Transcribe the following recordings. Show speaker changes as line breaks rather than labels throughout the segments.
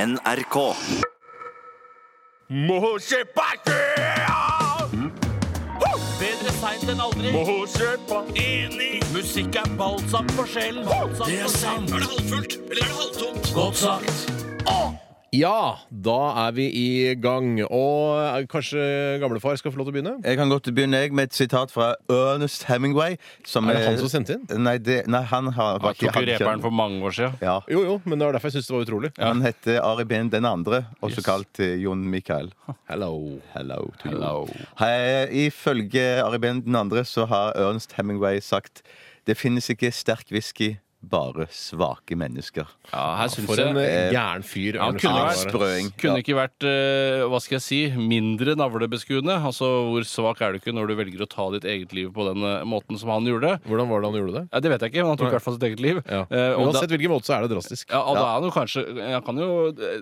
NRK.
Bedre seint enn aldri. Enig. Musikk er balsam for sjelen. det er sant. Er det halvfullt, eller er det halvtomt? Godt sagt.
Ja, da er vi i gang. Og eh, kanskje gamlefar skal få lov til å begynne?
Jeg kan godt begynne jeg med et sitat fra Ernest Hemingway. Som
Er det han som sendte inn?
Nei, det, nei han har var
Jeg tok jo
hadde ikke-
reperen for mange år siden.
ja.
Jo, jo, men det var derfor jeg syntes det var utrolig.
Han heter Ari Behn den andre, også kalt eh, Jon Michael.
Hello.
Hello to you. Hei, ifølge Ari Behn den andre så har Ernest Hemingway sagt det finnes ikke sterk whisky, bare svake mennesker.
Ja, her synes
For en
jeg
eh, gæren fyr.
han
Ernest
kunne
Hemingway
vært
var.
Sprøing.
kunne ikke vært eh, hva skal jeg si, mindre navlebeskuende. Altså, Hvor svak er du ikke når du velger å ta ditt eget liv på den eh, måten som han gjorde?
Hvordan var det han gjorde det?
Ja, det vet jeg ikke, men han tok i hvert fall sitt eget liv.
Ja.
Eh, og da-
Uansett hvilken måte, så er det drastisk.
Ja, og da er han jo kanskje jeg kan jo,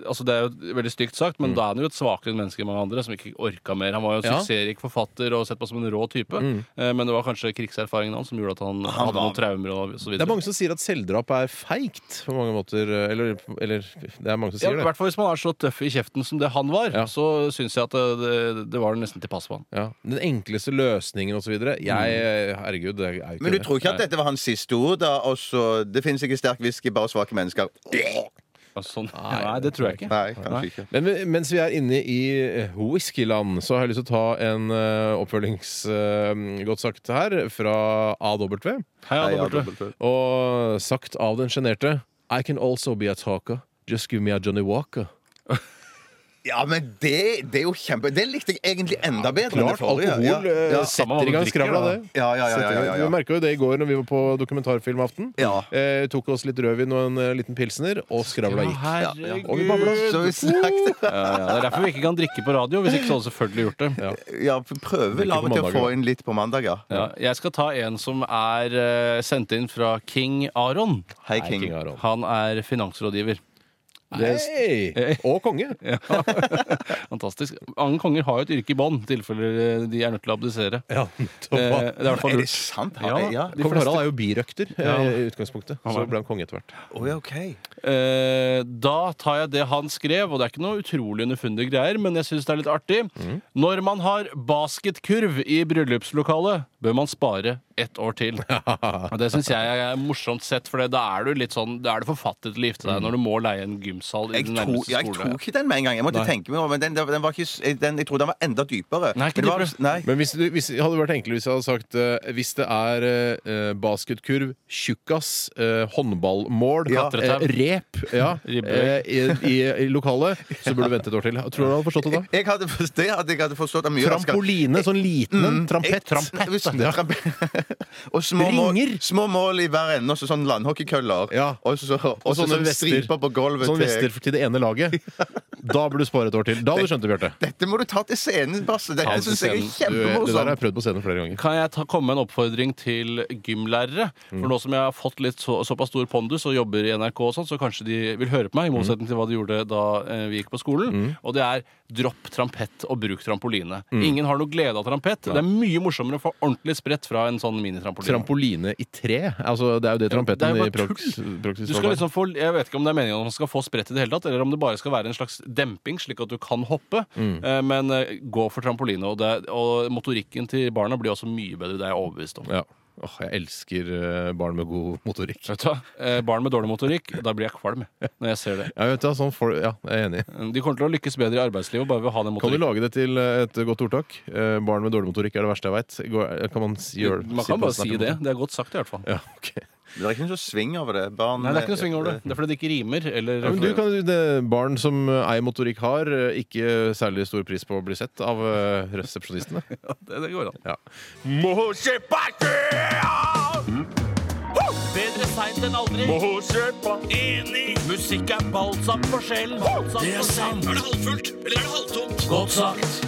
altså Det er jo veldig stygt sagt, men da er han jo et svakere menneske enn mange andre som ikke orka mer. Han var jo en
Ja.
suksessrik forfatter og sett på som en rå type, eh, men det var kanskje krigserfaringen hans som gjorde at han, hadde
var-
noen traumer og så
Det
videre.
er mange som sier at selvdrap er feigt på mange måter. eh, Eller, eller det er mange som
ja,
sier
I
det.
hvert fall hvis man er så tøff i kjeften som det han var,
Ja.
så syns jeg at det, det, det var nesten til pass for han.
Ja. Den enkleste løsningen osv.
Mm.
Jeg eh, Herregud, det er jo ikke
Men du tror ikke at dette var hans siste ord? da? Og så, det finnes ikke sterk whisky, bare svake mennesker.
Altså, sånn, nei, det tror jeg ikke.
Nei, kanskje ikke.
Men vi- mens vi er inne i eh, whiskyland, så har jeg lyst til å ta en uh, oppfølgings... eh, godt sagt her, fra AW.
Hei,
Nei,
Anne
ja,
Dorthe.
dobbelt.
Og sagt av den sjenerte I can also be a talker. Just give me a Johnny Walker.
Ja, men det, det er jo kjempe... Det likte jeg egentlig enda bedre enn det
Klart,
forrige.
alkohol
Ja,
eh,
ja.
Samme hva
setter
du
i gang
drikker,
skravla,
da.
det.
Ja, ja, ja,
Setter i
ja,
gang.
ja, ja.
Vi merka jo det i går når vi var på dokumentarfilmaften.
Ja.
Eh, tok oss litt rødvin og en eh, liten pilsner, og skravla gikk.
Ja,
Og vi babla.
herregud.
Så vi snakket
Ja, ja, det er derfor vi ikke kan drikke på radio. Hvis ikke så hadde vi selvfølgelig gjort det. Ja.
Ja, prøver vel
ikke på
av og til å
mandager,
få
da.
inn litt på mandag, ja.
Ja, jeg skal ta en som er eh, sendt inn fra King Aron.
Hei,
Nei,
King.
King Aron.
Han er finansrådgiver.
Hei! Og konge.
Ja. Fantastisk. Mange konger har jo et yrke i bånn, i tilfelle de er nødt til å abdisere.
Ja,
Eh, det
Kong
er i hvert fall
Er det
lurt.
sant?
Ja,
Ja. ja.
de fleste-
Harald er jo birøkter eh,
Ja.
i utgangspunktet. Så ble han konge etter hvert.
Å, ja, ok.
Eh, da tar jeg det han skrev, og det er ikke noe utrolig underfundige greier, men jeg syns det er litt artig.
Mm.
Når man har basketkurv i bryllupslokalet, bør man spare ett år til. Og det syns jeg er morsomt sett, for da er du litt sånn Da er du forfattet til å gifte deg, når du må leie en gymsal i
Mm. Jeg,
den
tro,
nærmeste
jeg
skole.
tok ikke den med en gang. Jeg måtte tenke meg om, men den, den var ikke, s- eh, den, jeg trodde den var enda dypere.
Nei, ikke
Men det var-
dypere.
Nei.
Men hvis, du, hvis det hadde vært enklere hvis jeg hadde sagt eh, hvis det er eh, basketkurv, tjukkas, eh, håndballmål,
Ja.
eh, rep ja,
Ribbe.
eh, i, i, i lokalet, så burde du vente et år til. Tror du han hadde forstått det da?
Jeg hadde forstått, det hadde jeg hadde forstått det mye raskere.
Trampoline, sånn liten en.
Mm,
Trampett.
Hvis-
Ja.
trampe- og små mål,
Ringer.
små mål i hver ende, og så sånn landhockeykøller.
Ja.
Og så og
Og
så
sånne
sånn
vester.
striper på gulvet.
Sånn
til-
vester til det ene laget. Da burde du spare et år til. Da hadde du skjønt det, Bjarte.
Dette må du ta til scenen, Basse. Dette
til
syns jeg er sånn-
Du, Det der har
kjempemorsomt.
jeg prøvd på scenen flere ganger.
Kan jeg ta, komme med en oppfordring til gymlærere? For nå som jeg har fått litt så, såpass stor pondus og jobber i NRK, og sånn, så kanskje de vil høre på meg, i motsetning til hva de gjorde da eh, vi gikk på skolen. Og det er dropp trampett og bruk trampoline. Ingen har noe glede av trampett. Det er mye morsommere å få ordentlig spredt fra en sånn minitrampoline.
Trampoline i tre. Altså, det er jo det
det er
trampetten
jo
i
bare
prox-
tull.
proxy
Du
står
skal
for.
liksom få, jeg vet ikke om det er meningen at man skal få spredt i det hele tatt, eller om det bare skal være en slags demping, slik at du kan hoppe. Eh, Men eh, gå for trampoline, og, det, og motorikken til barna blir også mye bedre, det er jeg overbevist om.
Ja. Åh, jeg elsker eh, barn med god motorikk.
Vet du hva? Eh, Barn med dårlig motorikk, da blir jeg kvalm når jeg ser det.
Ja, vet du, hva, sånn for, ja, jeg er enig.
De kommer til å lykkes bedre i arbeidslivet bare ved å ha den
Kan du
motorikken.
lage det til et godt ordtak? Eh, Barn med dårlig motorikk er det verste jeg veit. Kan man si, gjøre det?
Man
på
kan bare si
snakken
det.
måten?
Det er godt sagt, i hvert fall.
Ja, ok.
Det er ikke noe sving over det. Barn,
Nei, det er ikke noe sving over det. Det er fordi det ikke rimer, eller
Ja, men du kan, det, barn som ei motorikk har, eh, ikke særlig stor pris på å bli sett av eh, resepsjonistene.
Det, det går an.
Ja.
Bedre seint enn aldri. Enig. Musikk er balsam for sjelen. Det er sant. Er det halvfullt, eller er det halvtomt? Godt sagt.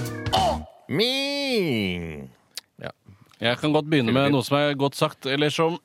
Me.
Jeg kan godt begynne med noe som er godt sagt, eller som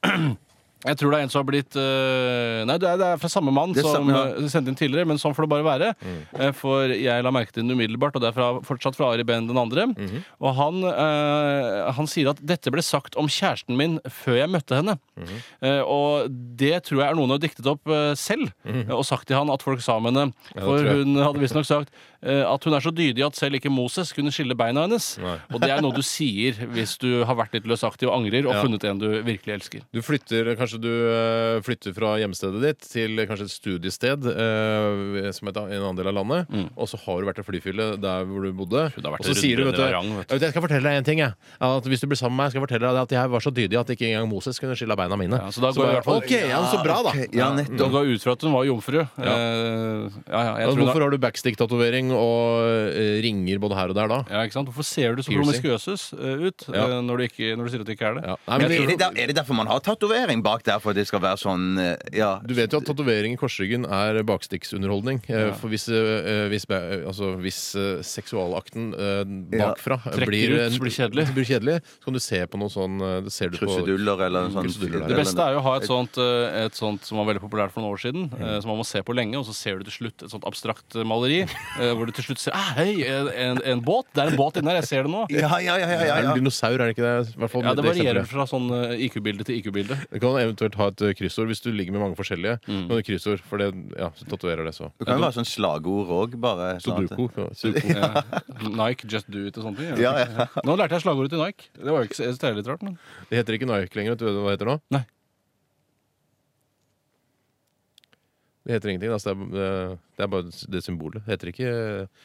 Jeg tror det er en som har blitt eh, Nei, det er, det er fra samme mann
Det er
som
samme, Mm.
eh, sendte inn tidligere, men sånn får det bare være. Eh, For jeg la merke til den umiddelbart, og det er fra, fortsatt fra Ari Behn den andre.
Mhm.
Og han, eh, han sier at dette ble sagt om kjæresten min før jeg møtte henne.
Mhm.
Eh, og det tror jeg er noe hun har diktet opp eh, selv,
Mhm.
og sagt til han at folk sa om henne. For
tror jeg.
hun hadde visstnok sagt eh, at hun er så dydig at selv ikke Moses kunne skille beina hennes. Og det er noe du sier hvis du har vært litt løsaktig og angrer, og funnet en du virkelig elsker.
Du flytter, kanskje du eh, flytter fra hjemstedet ditt til kanskje et studiested eh, som er et an- en annen del av landet,
Mm.
og så har du vært i flyfjellet der hvor du bodde.
Skulle ha vært
Og så
en
sier du, vet du,
rundbrennende rang, vet du.
«Jeg vet, jeg skal fortelle deg en ting, jeg. At hvis du blir sammen med meg, skal jeg fortelle deg at jeg var så dydig at ikke engang Moses kunne skille av beina mine.
Ja, så da går
bare,
jeg i hvert fall-
OK, ja, så bra, da.
Ok, Ja, nettopp.
Da går jeg ut fra at hun var jomfru. Ja. ja, ja, jeg
Altså,
tror
hvorfor
da,
har du backstick-tatovering og eh, ringer både her og der da?
ja, ikke sant? Hvorfor ser du så
Piercing.
promiskuøs eh, ut
Ja.
eh, når, du ikke, når du sier at du ikke er det?
Ja. Nei, men
Er det,
det,
der, er det derfor man har tatovering bak der? For at det skal være sånn eh, Ja.
du vet jo at tatovering i korsryggen er bakstikksunderholdning. eh, For hvis, eh, hvis, ba- altså, hvis eh, seksualakten eh,
Ja.
bakfra
Trekker
blir,
ut, så blir det kjedelig.
blir kjedelig, så kan du se på noe sånn eh, det ser du på,
Kruseduller eller noe sånt.
Kruseduller, ja.
Det beste er jo å ha et sånt, eh, et sånt som var veldig populært for noen år siden,
Mm.
eh, som man må se på lenge, og så ser du til slutt et sånt abstrakt eh, maleri, eh, hvor du til slutt ser ah, Hei, en, en, en båt! Det er en båt inni her, jeg ser det nå!
Ja, ja, ja. ja,
Er det
ja,
en dinosaur, er det ikke det? I hvert fall
Ja, Det
det
varierer
eksempelet.
fra sånn eh, IQ-bilde til IQ-bilde.
Du kan eventuelt ha et eh, kryssord hvis du ligger med mange forskjellige.
Mm.
Men et kryssord, for det, ja, så tatoverer det så.
Det kan jo være sånn slagord òg, bare. sånn at-
Sudoku. Sudoku.
Ja. Eh, Nike, just do it og sånne ting.
Ja, ja.
Nå lærte jeg slagordet til Nike. Det var jo ikke så det er litt rart, men
Det heter ikke Nike lenger. Vet du hva det heter nå?
Nei.
Det heter ingenting. Altså det, er, det er bare det symbolet. Det heter ikke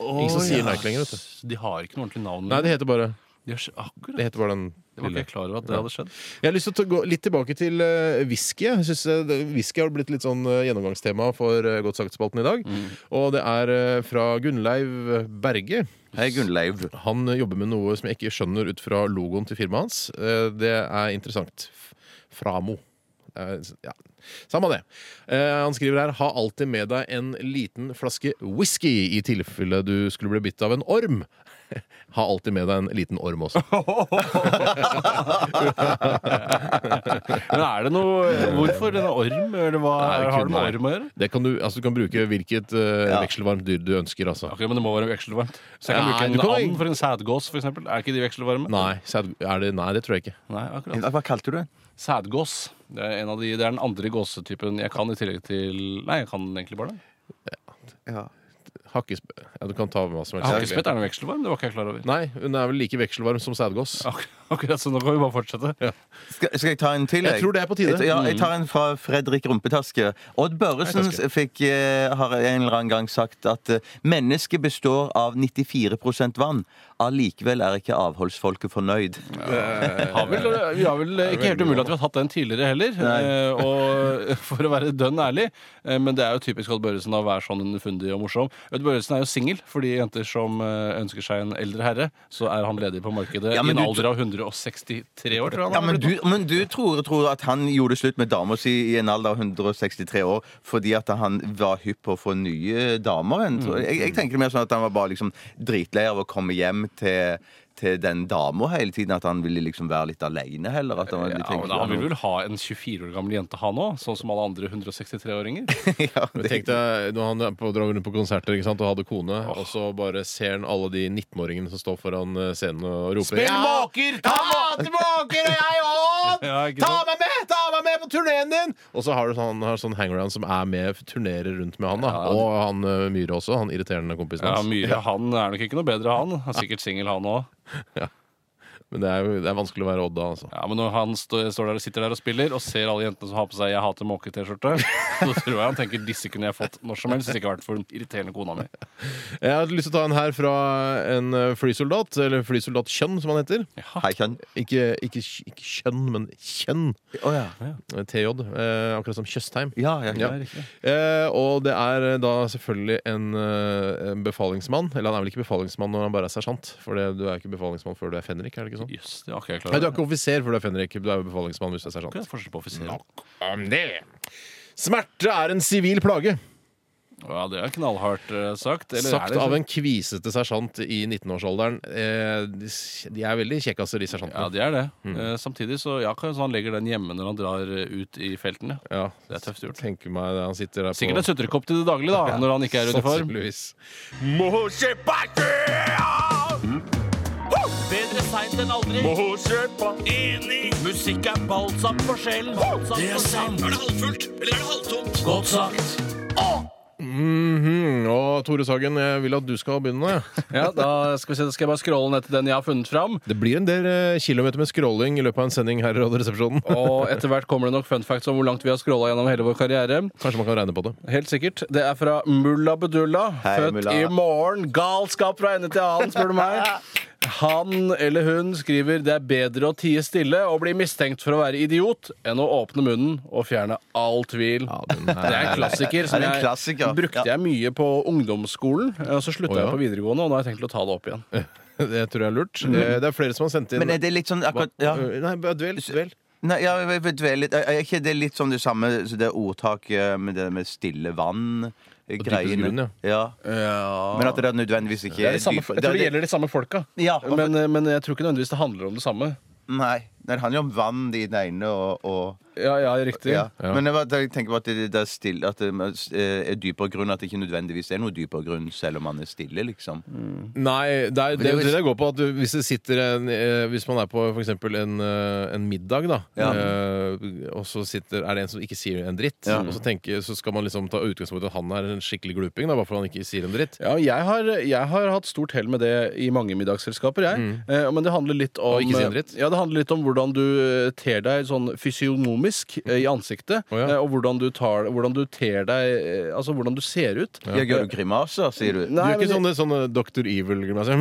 Ingen som sier Nike lenger. Vet du.
De har ikke noe ordentlig navn.
Nei, det heter bare
De har s- akkurat
det heter bare den
Jeg var
lille.
ikke klar over at det hadde skjedd.
Jeg har lyst til å ta- gå litt tilbake til eh, whisky. Jeg synes, eh, det- Whisky har blitt litt sånn eh, gjennomgangstema for eh, Godt sagt-spalten i dag.
Mm.
Og det er eh, fra Gunnleiv Berge.
Hei, Gunnleiv.
Han jobber med noe som jeg ikke skjønner ut fra logoen til firmaet hans. Eh, Det er interessant. F- Framo. Eh, Ja. Samme det. Eh, Han skriver her Ha alltid med deg en liten flaske whisky i tilfelle du skulle bli bitt av en orm. Ha alltid med deg en liten orm også.
Men er det noe eh, Hvorfor denne orm? Eller hva
Nei, det
har det
kunne
med
vært.
orm å gjøre?
Det kan du, altså, du kan bruke hvilket eh,
Ja.
vekselvarmt dyr du ønsker, altså.
Ok, Men det må være vekselvarmt. Så jeg kan
Nei,
bruke
du
en
kan jo-
and for en sædgås, for eksempel. Er ikke de vekselvarme?
Nei, sæd- er det, nei, det tror jeg ikke.
Nei, akkurat.
Hva kalte du det?
Sædgås. Det er, en av de, det er den andre gåsetypen jeg kan i tillegg til Nei, jeg kan egentlig bare det.
Ja.
Hakkesp... Ja, du kan ta hva som helst.
Hakkespett er noe vekselvarm. Det var ikke jeg klar over.
Nei, hun er vel like vekselvarm som sædgås.
Ak akkurat, så nå kan vi bare fortsette.
Skal, skal jeg ta en til?
Jeg tror det er på tide. Mm.
Jeg, ja, jeg tar en fra Fredrik Rumpetaske. Odd Børresen
Hei, Taske.
fikk, eh, har en eller annen gang sagt at eh, mennesket består av 94 vann. Allikevel er ikke avholdsfolket fornøyd.
Eh, Har vel, vi har vel ikke helt umulig at vi har tatt den tidligere heller. eh, Og For å være dønn ærlig. eh, Men det er jo typisk Odd Børresen å være sånn underfundig og morsom. Odd Børresen er jo singel for de jenter som eh, ønsker seg en eldre herre. Så er han ledig på markedet
Ja,
i
men
en
du-
alder av 163 år, tror jeg. han
Ja,
er
men
blitt
du, men du tror, tror at han gjorde slutt med dama si i en alder av 163 år fordi at han var hypp på å få nye damer? enn- tror jeg.
Mm.
Jeg, jeg tenker mer sånn at han var bare liksom dritlei av å komme hjem til, til den dama hele tiden. At han ville liksom være litt aleine heller. At han, var litt-
Ja, men han vil vel ha en 24 år gammel jente, han òg? Sånn som alle andre 163-åringer?
ja,
Men Tenk deg når han er på, drar rundt på konserter ikke sant, og hadde kone, og så bare ser han alle de 19-åringene som står foran eh, scenen og roper
Spill måker!
Ta måker, og jeg òg!
Ja, ikke
ta
sant?
meg med! Ta meg med på turneen din! Og så har du sånn, har sånn hangaround som er med, turnerer rundt med han. da
Ja.
Og han eh, Myhre også, han irriterende kompisen
Ja,
hans.
Myhre han er nok ikke noe bedre, han. Han er sikkert singel, han òg.
Men det er, jo- det er vanskelig å være Odd da, altså.
Ja, men når han stå- står der og sitter der og spiller og ser alle jentene som har på seg 'Jeg hater måke-T-skjorte', så tror jeg han tenker 'disse kunne jeg fått når som helst', hvis det ikke hadde vært for den irriterende kona mi.
Jeg har lyst til å ta en her fra en eh, flysoldat, eller flysoldat Kjønn, som han heter.
Hei, kjønn.
Ikke, ikke, ikke Kjønn, men Kjønn.
Å ja.
Eh, TJ. eh, Akkurat som Tjøstheim.
Ja, ja, ja.
Eh, og det er eh, da selvfølgelig en, eh, en befalingsmann. Eller han er vel ikke befalingsmann når han bare er sersjant. For det, du er ikke befalingsmann før du er fenrik. er det ikke sånn?
Jøss, det har ikke jeg
Nei,
klart.
du er ikke offiser før du er fenrik. Du er jo befalingsmann hvis du er
Hva er
sersjant.
forskjellen på offiserer?
Om det. Smerte er en sivil plage.
Ja, det er knallhardt eh, sagt. Eller er
Sagt
det,
av en kvisete sersjant i 19-årsalderen. Eh, de s- de er veldig kjekkaser, de sersjantene.
Ja, de er det.
Mm.
Eh, samtidig så ja, kan- så han legger den hjemme når han drar eh, ut i felten. Ja.
Ja,
Det er tøft gjort.
Tenker meg det. Han sitter der på
Sikkert en sutrekopp til det daglige, da, når han ikke er i uniform.
Sannsynligvis.
Bedre seint enn aldri. Enig. Musikk er balsam for sjelen. Det er sant. Er det halvfullt, eller er det halvtomt? Godt sagt.
Mhm, Og Tore Sagen, jeg vil at du skal begynne.
Ja, da skal, vi se, da skal jeg bare scrolle ned til den jeg har funnet fram.
Det blir en del eh, kilometer med scrolling i løpet av en sending her i Radioresepsjonen.
Og etter hvert kommer det nok fun facts om hvor langt vi har scrolla gjennom hele vår karriere.
Kanskje man kan regne på det.
Helt sikkert. Det er fra Mulla Bedulla.
Hei,
født
Mulla.
i morgen. Galskap fra ende til annen, spør du meg. Han eller hun skriver det er bedre å tie stille og bli mistenkt for å være idiot enn å åpne munnen og fjerne all tvil. Det er en klassiker som
Er det en
jeg
klassiker?
brukte jeg mye på ungdomsskolen. eh, Og så slutta
Å, ja.
jeg på videregående, og nå har jeg tenkt å ta det opp igjen.
Det tror jeg er lurt. Eh, Det er flere som har sendt inn
Men er det litt sånn akkurat ja.
Eh, Nei, bare dvel. dvel.
Nei, ja, jeg vil dvele litt. Er ikke det litt som det samme så det ordtaket med det med stille vann? eh, Greiene.
grunn,
Ja.
Ja.
Men at det er nødvendigvis ikke
Det er de samme, jeg tror det gjelder de samme folka.
Ja.
Men, eh, men jeg tror ikke nødvendigvis det handler om det samme.
Nei. Det handler jo om vann i den ene og, og
Ja, ja, riktig.
ja. Men jeg, bare- jeg tenker på at det, det er stille At det er dypere grunn. At det ikke nødvendigvis er noe dypere grunn, selv om man er stille, liksom.
Nei, det, er, det,
det-
det det går på at du, hvis det sitter en eh, Hvis man er på f.eks. En, eh, en middag, da,
Ja.
eh, og så sitter, er det en som ikke sier en dritt,
Ja.
og så, tenker, så skal man liksom ta utgangspunkt i at han er en skikkelig gluping, da, bare fordi han ikke sier en dritt.
Ja, jeg har, jeg har hatt stort hell med det i mange middagsselskaper, jeg. Eh, men det handler litt om eh,
Mm. Og ikke si en dritt.
Ja, det handler litt om hvordan du eh, ter deg sånn fysionomisk eh, i ansiktet.
Å, ja.
eh, og hvordan du, tar, hvordan du ter deg eh, Altså hvordan du ser ut.
Ja, gjør du grimaser, sier du?
Du
Nei,
er ikke
men-
sånn, sånn Dr. Evil-grimaser.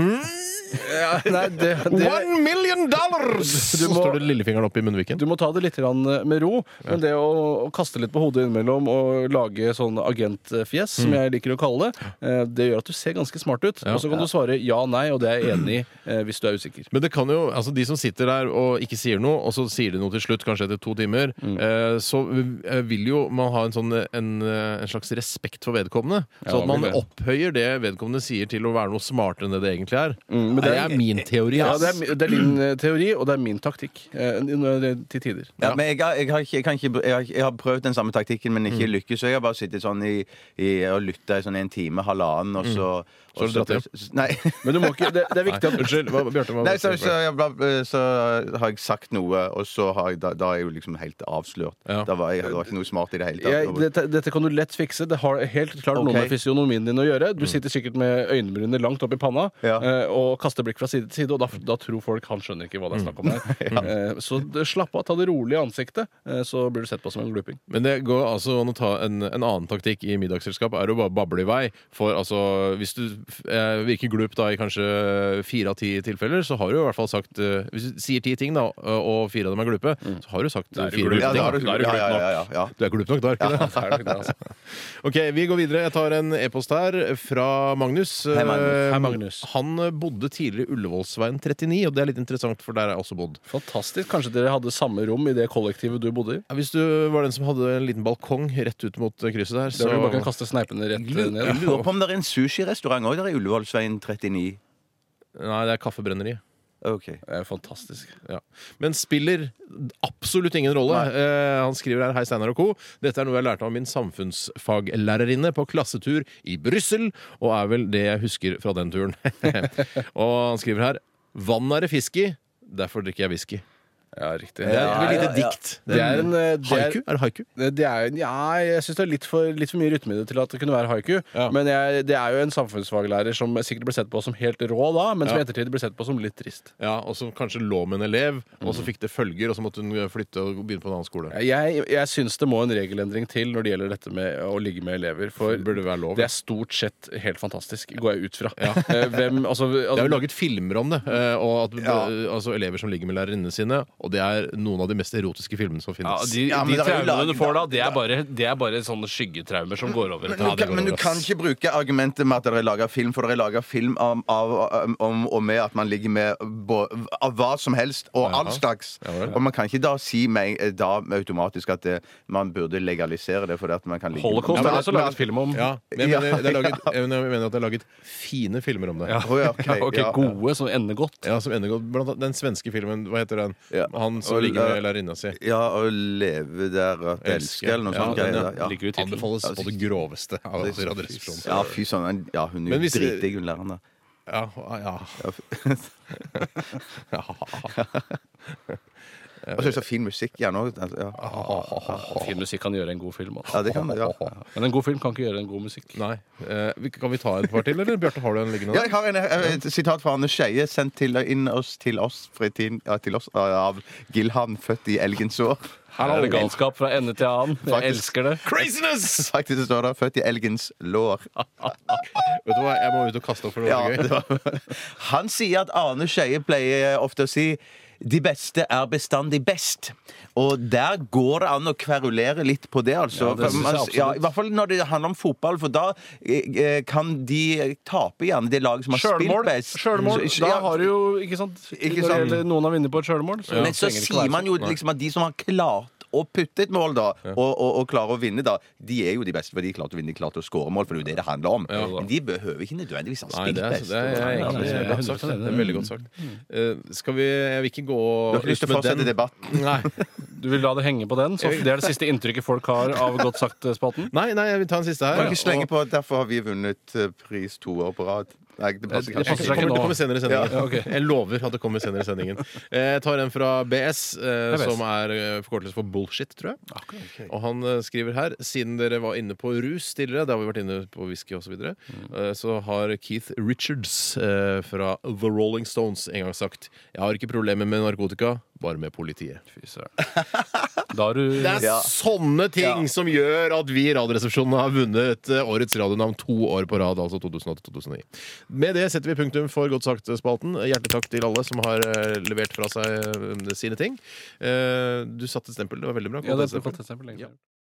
Ja, nei, det, det,
One million dollars!
Du
så
må-
står det lillefingeren opp i munnviken.
du må ta det litt grann eh, med ro, men det å, å kaste litt på hodet innimellom og lage sånn agentfjes,
Mm.
som jeg liker å kalle det, eh, det gjør at du ser ganske smart ut. Og så kan du svare ja, nei, og det er jeg enig i eh, hvis du er usikker.
Men det kan jo, altså de som sitter der og ikke sier noe, og så sier de noe til slutt, kanskje etter to timer,
Mm.
eh, så eh, vil jo man ha en, sånn, eh, en, eh, en slags respekt for vedkommende.
Ja,
så at man
vil det.
opphøyer det vedkommende sier til å være noe smartere enn det det egentlig er.
Mm, men
det,
det er-
er min teori.
Ja,
ass.
det er, mi- det er din eh, teori, og det er min taktikk. Eh, når det- til tider.
Ja, men jeg har, jeg, har ikke, jeg, kan ikke, jeg, har, jeg har prøvd den samme taktikken, men ikke lykkes. Så jeg har bare sittet sånn i, i, og lytta i sånn en time, halvannen, og så og
har du dratt
Nei.
Men du må ikke, det, det er viktig
Nei,
at
Unnskyld, hva, Bjarte. Hva,
Nei, så, så, jeg, bare- eh, så har jeg sagt noe, og så har jeg, da, da er jeg jo liksom helt avslørt.
Ja.
Da var jeg, det var ikke noe smart i det hele
jeg,
tatt.
dette, dette kan du lett fikse. Det har helt klart noe
Ok.
med fysionomien din å gjøre. Du sitter sikkert med øyenbrynene langt opp i panna
Ja.
eh, og kaster blikk fra side til side, og da, da tror folk han skjønner ikke hva det er snakk om her. Eh, Så d- slapp av, ta det rolig i ansiktet, eh, så blir du sett på som en gluping.
Men det går altså an å ta en, en annen taktikk i middagsselskap, er å bare bable i vei. For altså, hvis du eh, virker glup da i kanskje fire av ti tilfeller, så har du i hvert fall sagt eh, Hvis du sier ti ting, da, og fire av dem er glupe, så har du sagt
Da er du
fire
glup.
glupe
Ja,
ting.
Mm. da har du-
Da er du
ja,
glup
ja,
nok.
ja, ja, ja.
Du er glup nok, da er du ikke det?
Det er nok det, altså.
Ok, Vi går videre. Jeg tar en e-post her fra Magnus.
Hei, Magnus.
Eh,
Hei, Magnus.
Han bodde tidligere i Ullevålsveien 39, og det er litt interessant, for der har jeg også bodd.
Fantastisk. Kanskje dere hadde samme rom i det kollektivet du bodde i?
Ja, Hvis du var den som hadde en liten balkong rett ut mot krysset der,
Der
så
du bare kan kaste sneipene rett eh, ned?
Jeg lurer på om det er en sushirestaurant òg der i Ullevålsveien 39.
Nei, det er Kaffebrenneriet.
Ok.
Det er fantastisk.
Ja. Men spiller absolutt ingen rolle. Eh, han skriver her Hei, Steinar og co. Dette er noe jeg lærte av min samfunnsfaglærerinne på klassetur i Brussel, og er vel det jeg husker fra den turen. og han skriver her Vann er det fisk i, derfor drikker jeg whisky.
Ja, riktig.
Det er et
Ja,
lite
ja, ja.
dikt.
Det er en eh, det er,
Haiku? Er det haiku?
det er, ja, jeg syns det er litt for, litt for mye rytme i det til at det kunne være haiku.
Ja.
Men jeg, det er jo en samfunnsfaglærer som sikkert ble sett på som helt rå da, men som i
Ja.
ettertid ble sett på som litt trist.
Ja, Og som kanskje lå med en elev, og så fikk det følger, og så måtte hun flytte og begynne på en annen skole.
Jeg, jeg syns det må en regelendring til når det gjelder dette med å ligge med elever. For
Det burde være lov.
det er stort sett helt fantastisk, går jeg ut fra. Eh, Hvem, altså,
Det er jo
altså,
laget filmer om det, eh, og at
Ja.
eh, altså, elever som ligger med lærerinnene sine, Og det er noen av de mest erotiske filmene som
Ja,
finnes.
de
Ja,
de
men det er jo
traumene
lag-
du får da, det er bare, det er bare sånne skyggetraumer som går over.
Men,
etter
du
hvert.
kan, men du kan ikke bruke argumentet med at dere lager film, for dere lager film om, av, om og med at man ligger med bo- av hva som helst og all slags.
Ja vel.
Og man kan ikke da si meg, eh, da automatisk at eh, man burde legalisere det. For at man kan ligge
Holocaust
Men-
er det også
men-
laget film om.
Ja, men jeg
Ja,
mener, det er laget, jeg mener jeg mener at det er laget fine filmer om det.
Ja.
Å, Oh, ja, ok,
Ok,
ja.
Gode som ender godt.
Ja, som ender godt. Blant annet den svenske filmen, hva heter den?
Ja.
Han som
Og-
ligger med lærerinna si.
Ja, å leve der at elsker, eller noe
Ja,
sånt.
den,
greier
ja.
der,
Ligger jo i tittelen.
Anbefales på det groveste av Radioresepsjonen.
Ja, fy søren. Ja, hun er
Men
jo
hvis-
dritdigg, hun læreren der.
Ja, ja.
Ja, fy- Og så er det så fin musikk gjerne òg. altså, Ja.
Fin musikk kan gjøre en god film.
ja,
Altså.
det kan det. Ja.
Men en god film kan ikke gjøre en god musikk.
Nei. Eh, vi- kan vi ta et par til, eller? Bjarte, har du en liggende?
Ja, jeg har en, eh, et sitat fra Anne Skeie sendt til, inn oss til oss, fra tiden, ja, til oss eh, av Gilhavn, født i elgens år.
Her er det galskap fra ende til annen. Jeg
Faktisk.
elsker det.
Craziness!
Faktisk det står det 'født i elgens lår'.
Vet du hva, jeg må ut og kaste opp for det
Ja,
var gøy.
Ah, det var. Han sier at Arne Skeie pleier eh, ofte å si de beste er bestandig best. Og der går det an å kverulere litt på det, altså.
Ja, det synes jeg
Man-
absolutt.
ja, I hvert fall når det handler om fotball, for da eh, eh, kan de tape gjerne det laget som har
Sjølmål.
spilt best.
Sjølmål.
Så-
Da
ja,
har du jo Ikke sant?
Ikke
Når det
sant.
gjelder Noen har vunnet på et sjølmål. så
Men så
trenger det ikke være
sier man jo liksom at de som har klart å putte et mål, da, og, og, og klarer å vinne, da, de er jo de beste, for de klarte å vinne, de klarte å skåre mål, for det er jo det det handler om. Men de behøver ikke nødvendigvis ha
Nei,
spilt
det er,
best.
det er,
Nei,
egentlig
det er
godt sagt.
hundre prosent
Det er veldig godt sagt. Eh, skal vi Jeg vil ikke gå
Du har ikke lyst til å
ut med
fortsette
den.
debatten?
Nei.
sånn. Du vil la det henge på den? Så det er det siste inntrykket folk har av Godt eh, sagt-spalten?
nei, nei, jeg vil ta en siste her.
Kan ikke slenge på at derfor har vi vunnet eh, pris to år på rad. Nei, det passer
Det
Jeg
kanskje
passer seg
ikke.
ikke
kommer,
nå.
det kommer senere i sendingen.
Ja, ok.
Jeg lover at det kommer senere i sendingen. Eh, Jeg tar en fra BS, eh,
Det er BS.
som er eh, forkortelse for bullshit, tror jeg.
Ah,
Og han eh, skriver her Siden dere var inne på rus tidligere, det har vi vært inne på whisky osv., så, videre,
Mm.
eh, så har Keith Richards eh, fra The Rolling Stones en gang sagt Jeg har ikke problemer med narkotika, bare med politiet.
Fy søren. Da har du
Det er
Ja.
sånne ting
Ja.
som gjør at vi i Radioresepsjonen har vunnet eh, årets radionavn to år på rad, altså 2008-2009. Med det setter vi punktum for Godt sagt-spalten. Hjertelig takk til alle som har eh, levert fra seg eh, sine ting. Eh, Du satte et stempel, det var veldig bra.
Ja, det
Godt
er
stempel.
godt eksempel. egentlig.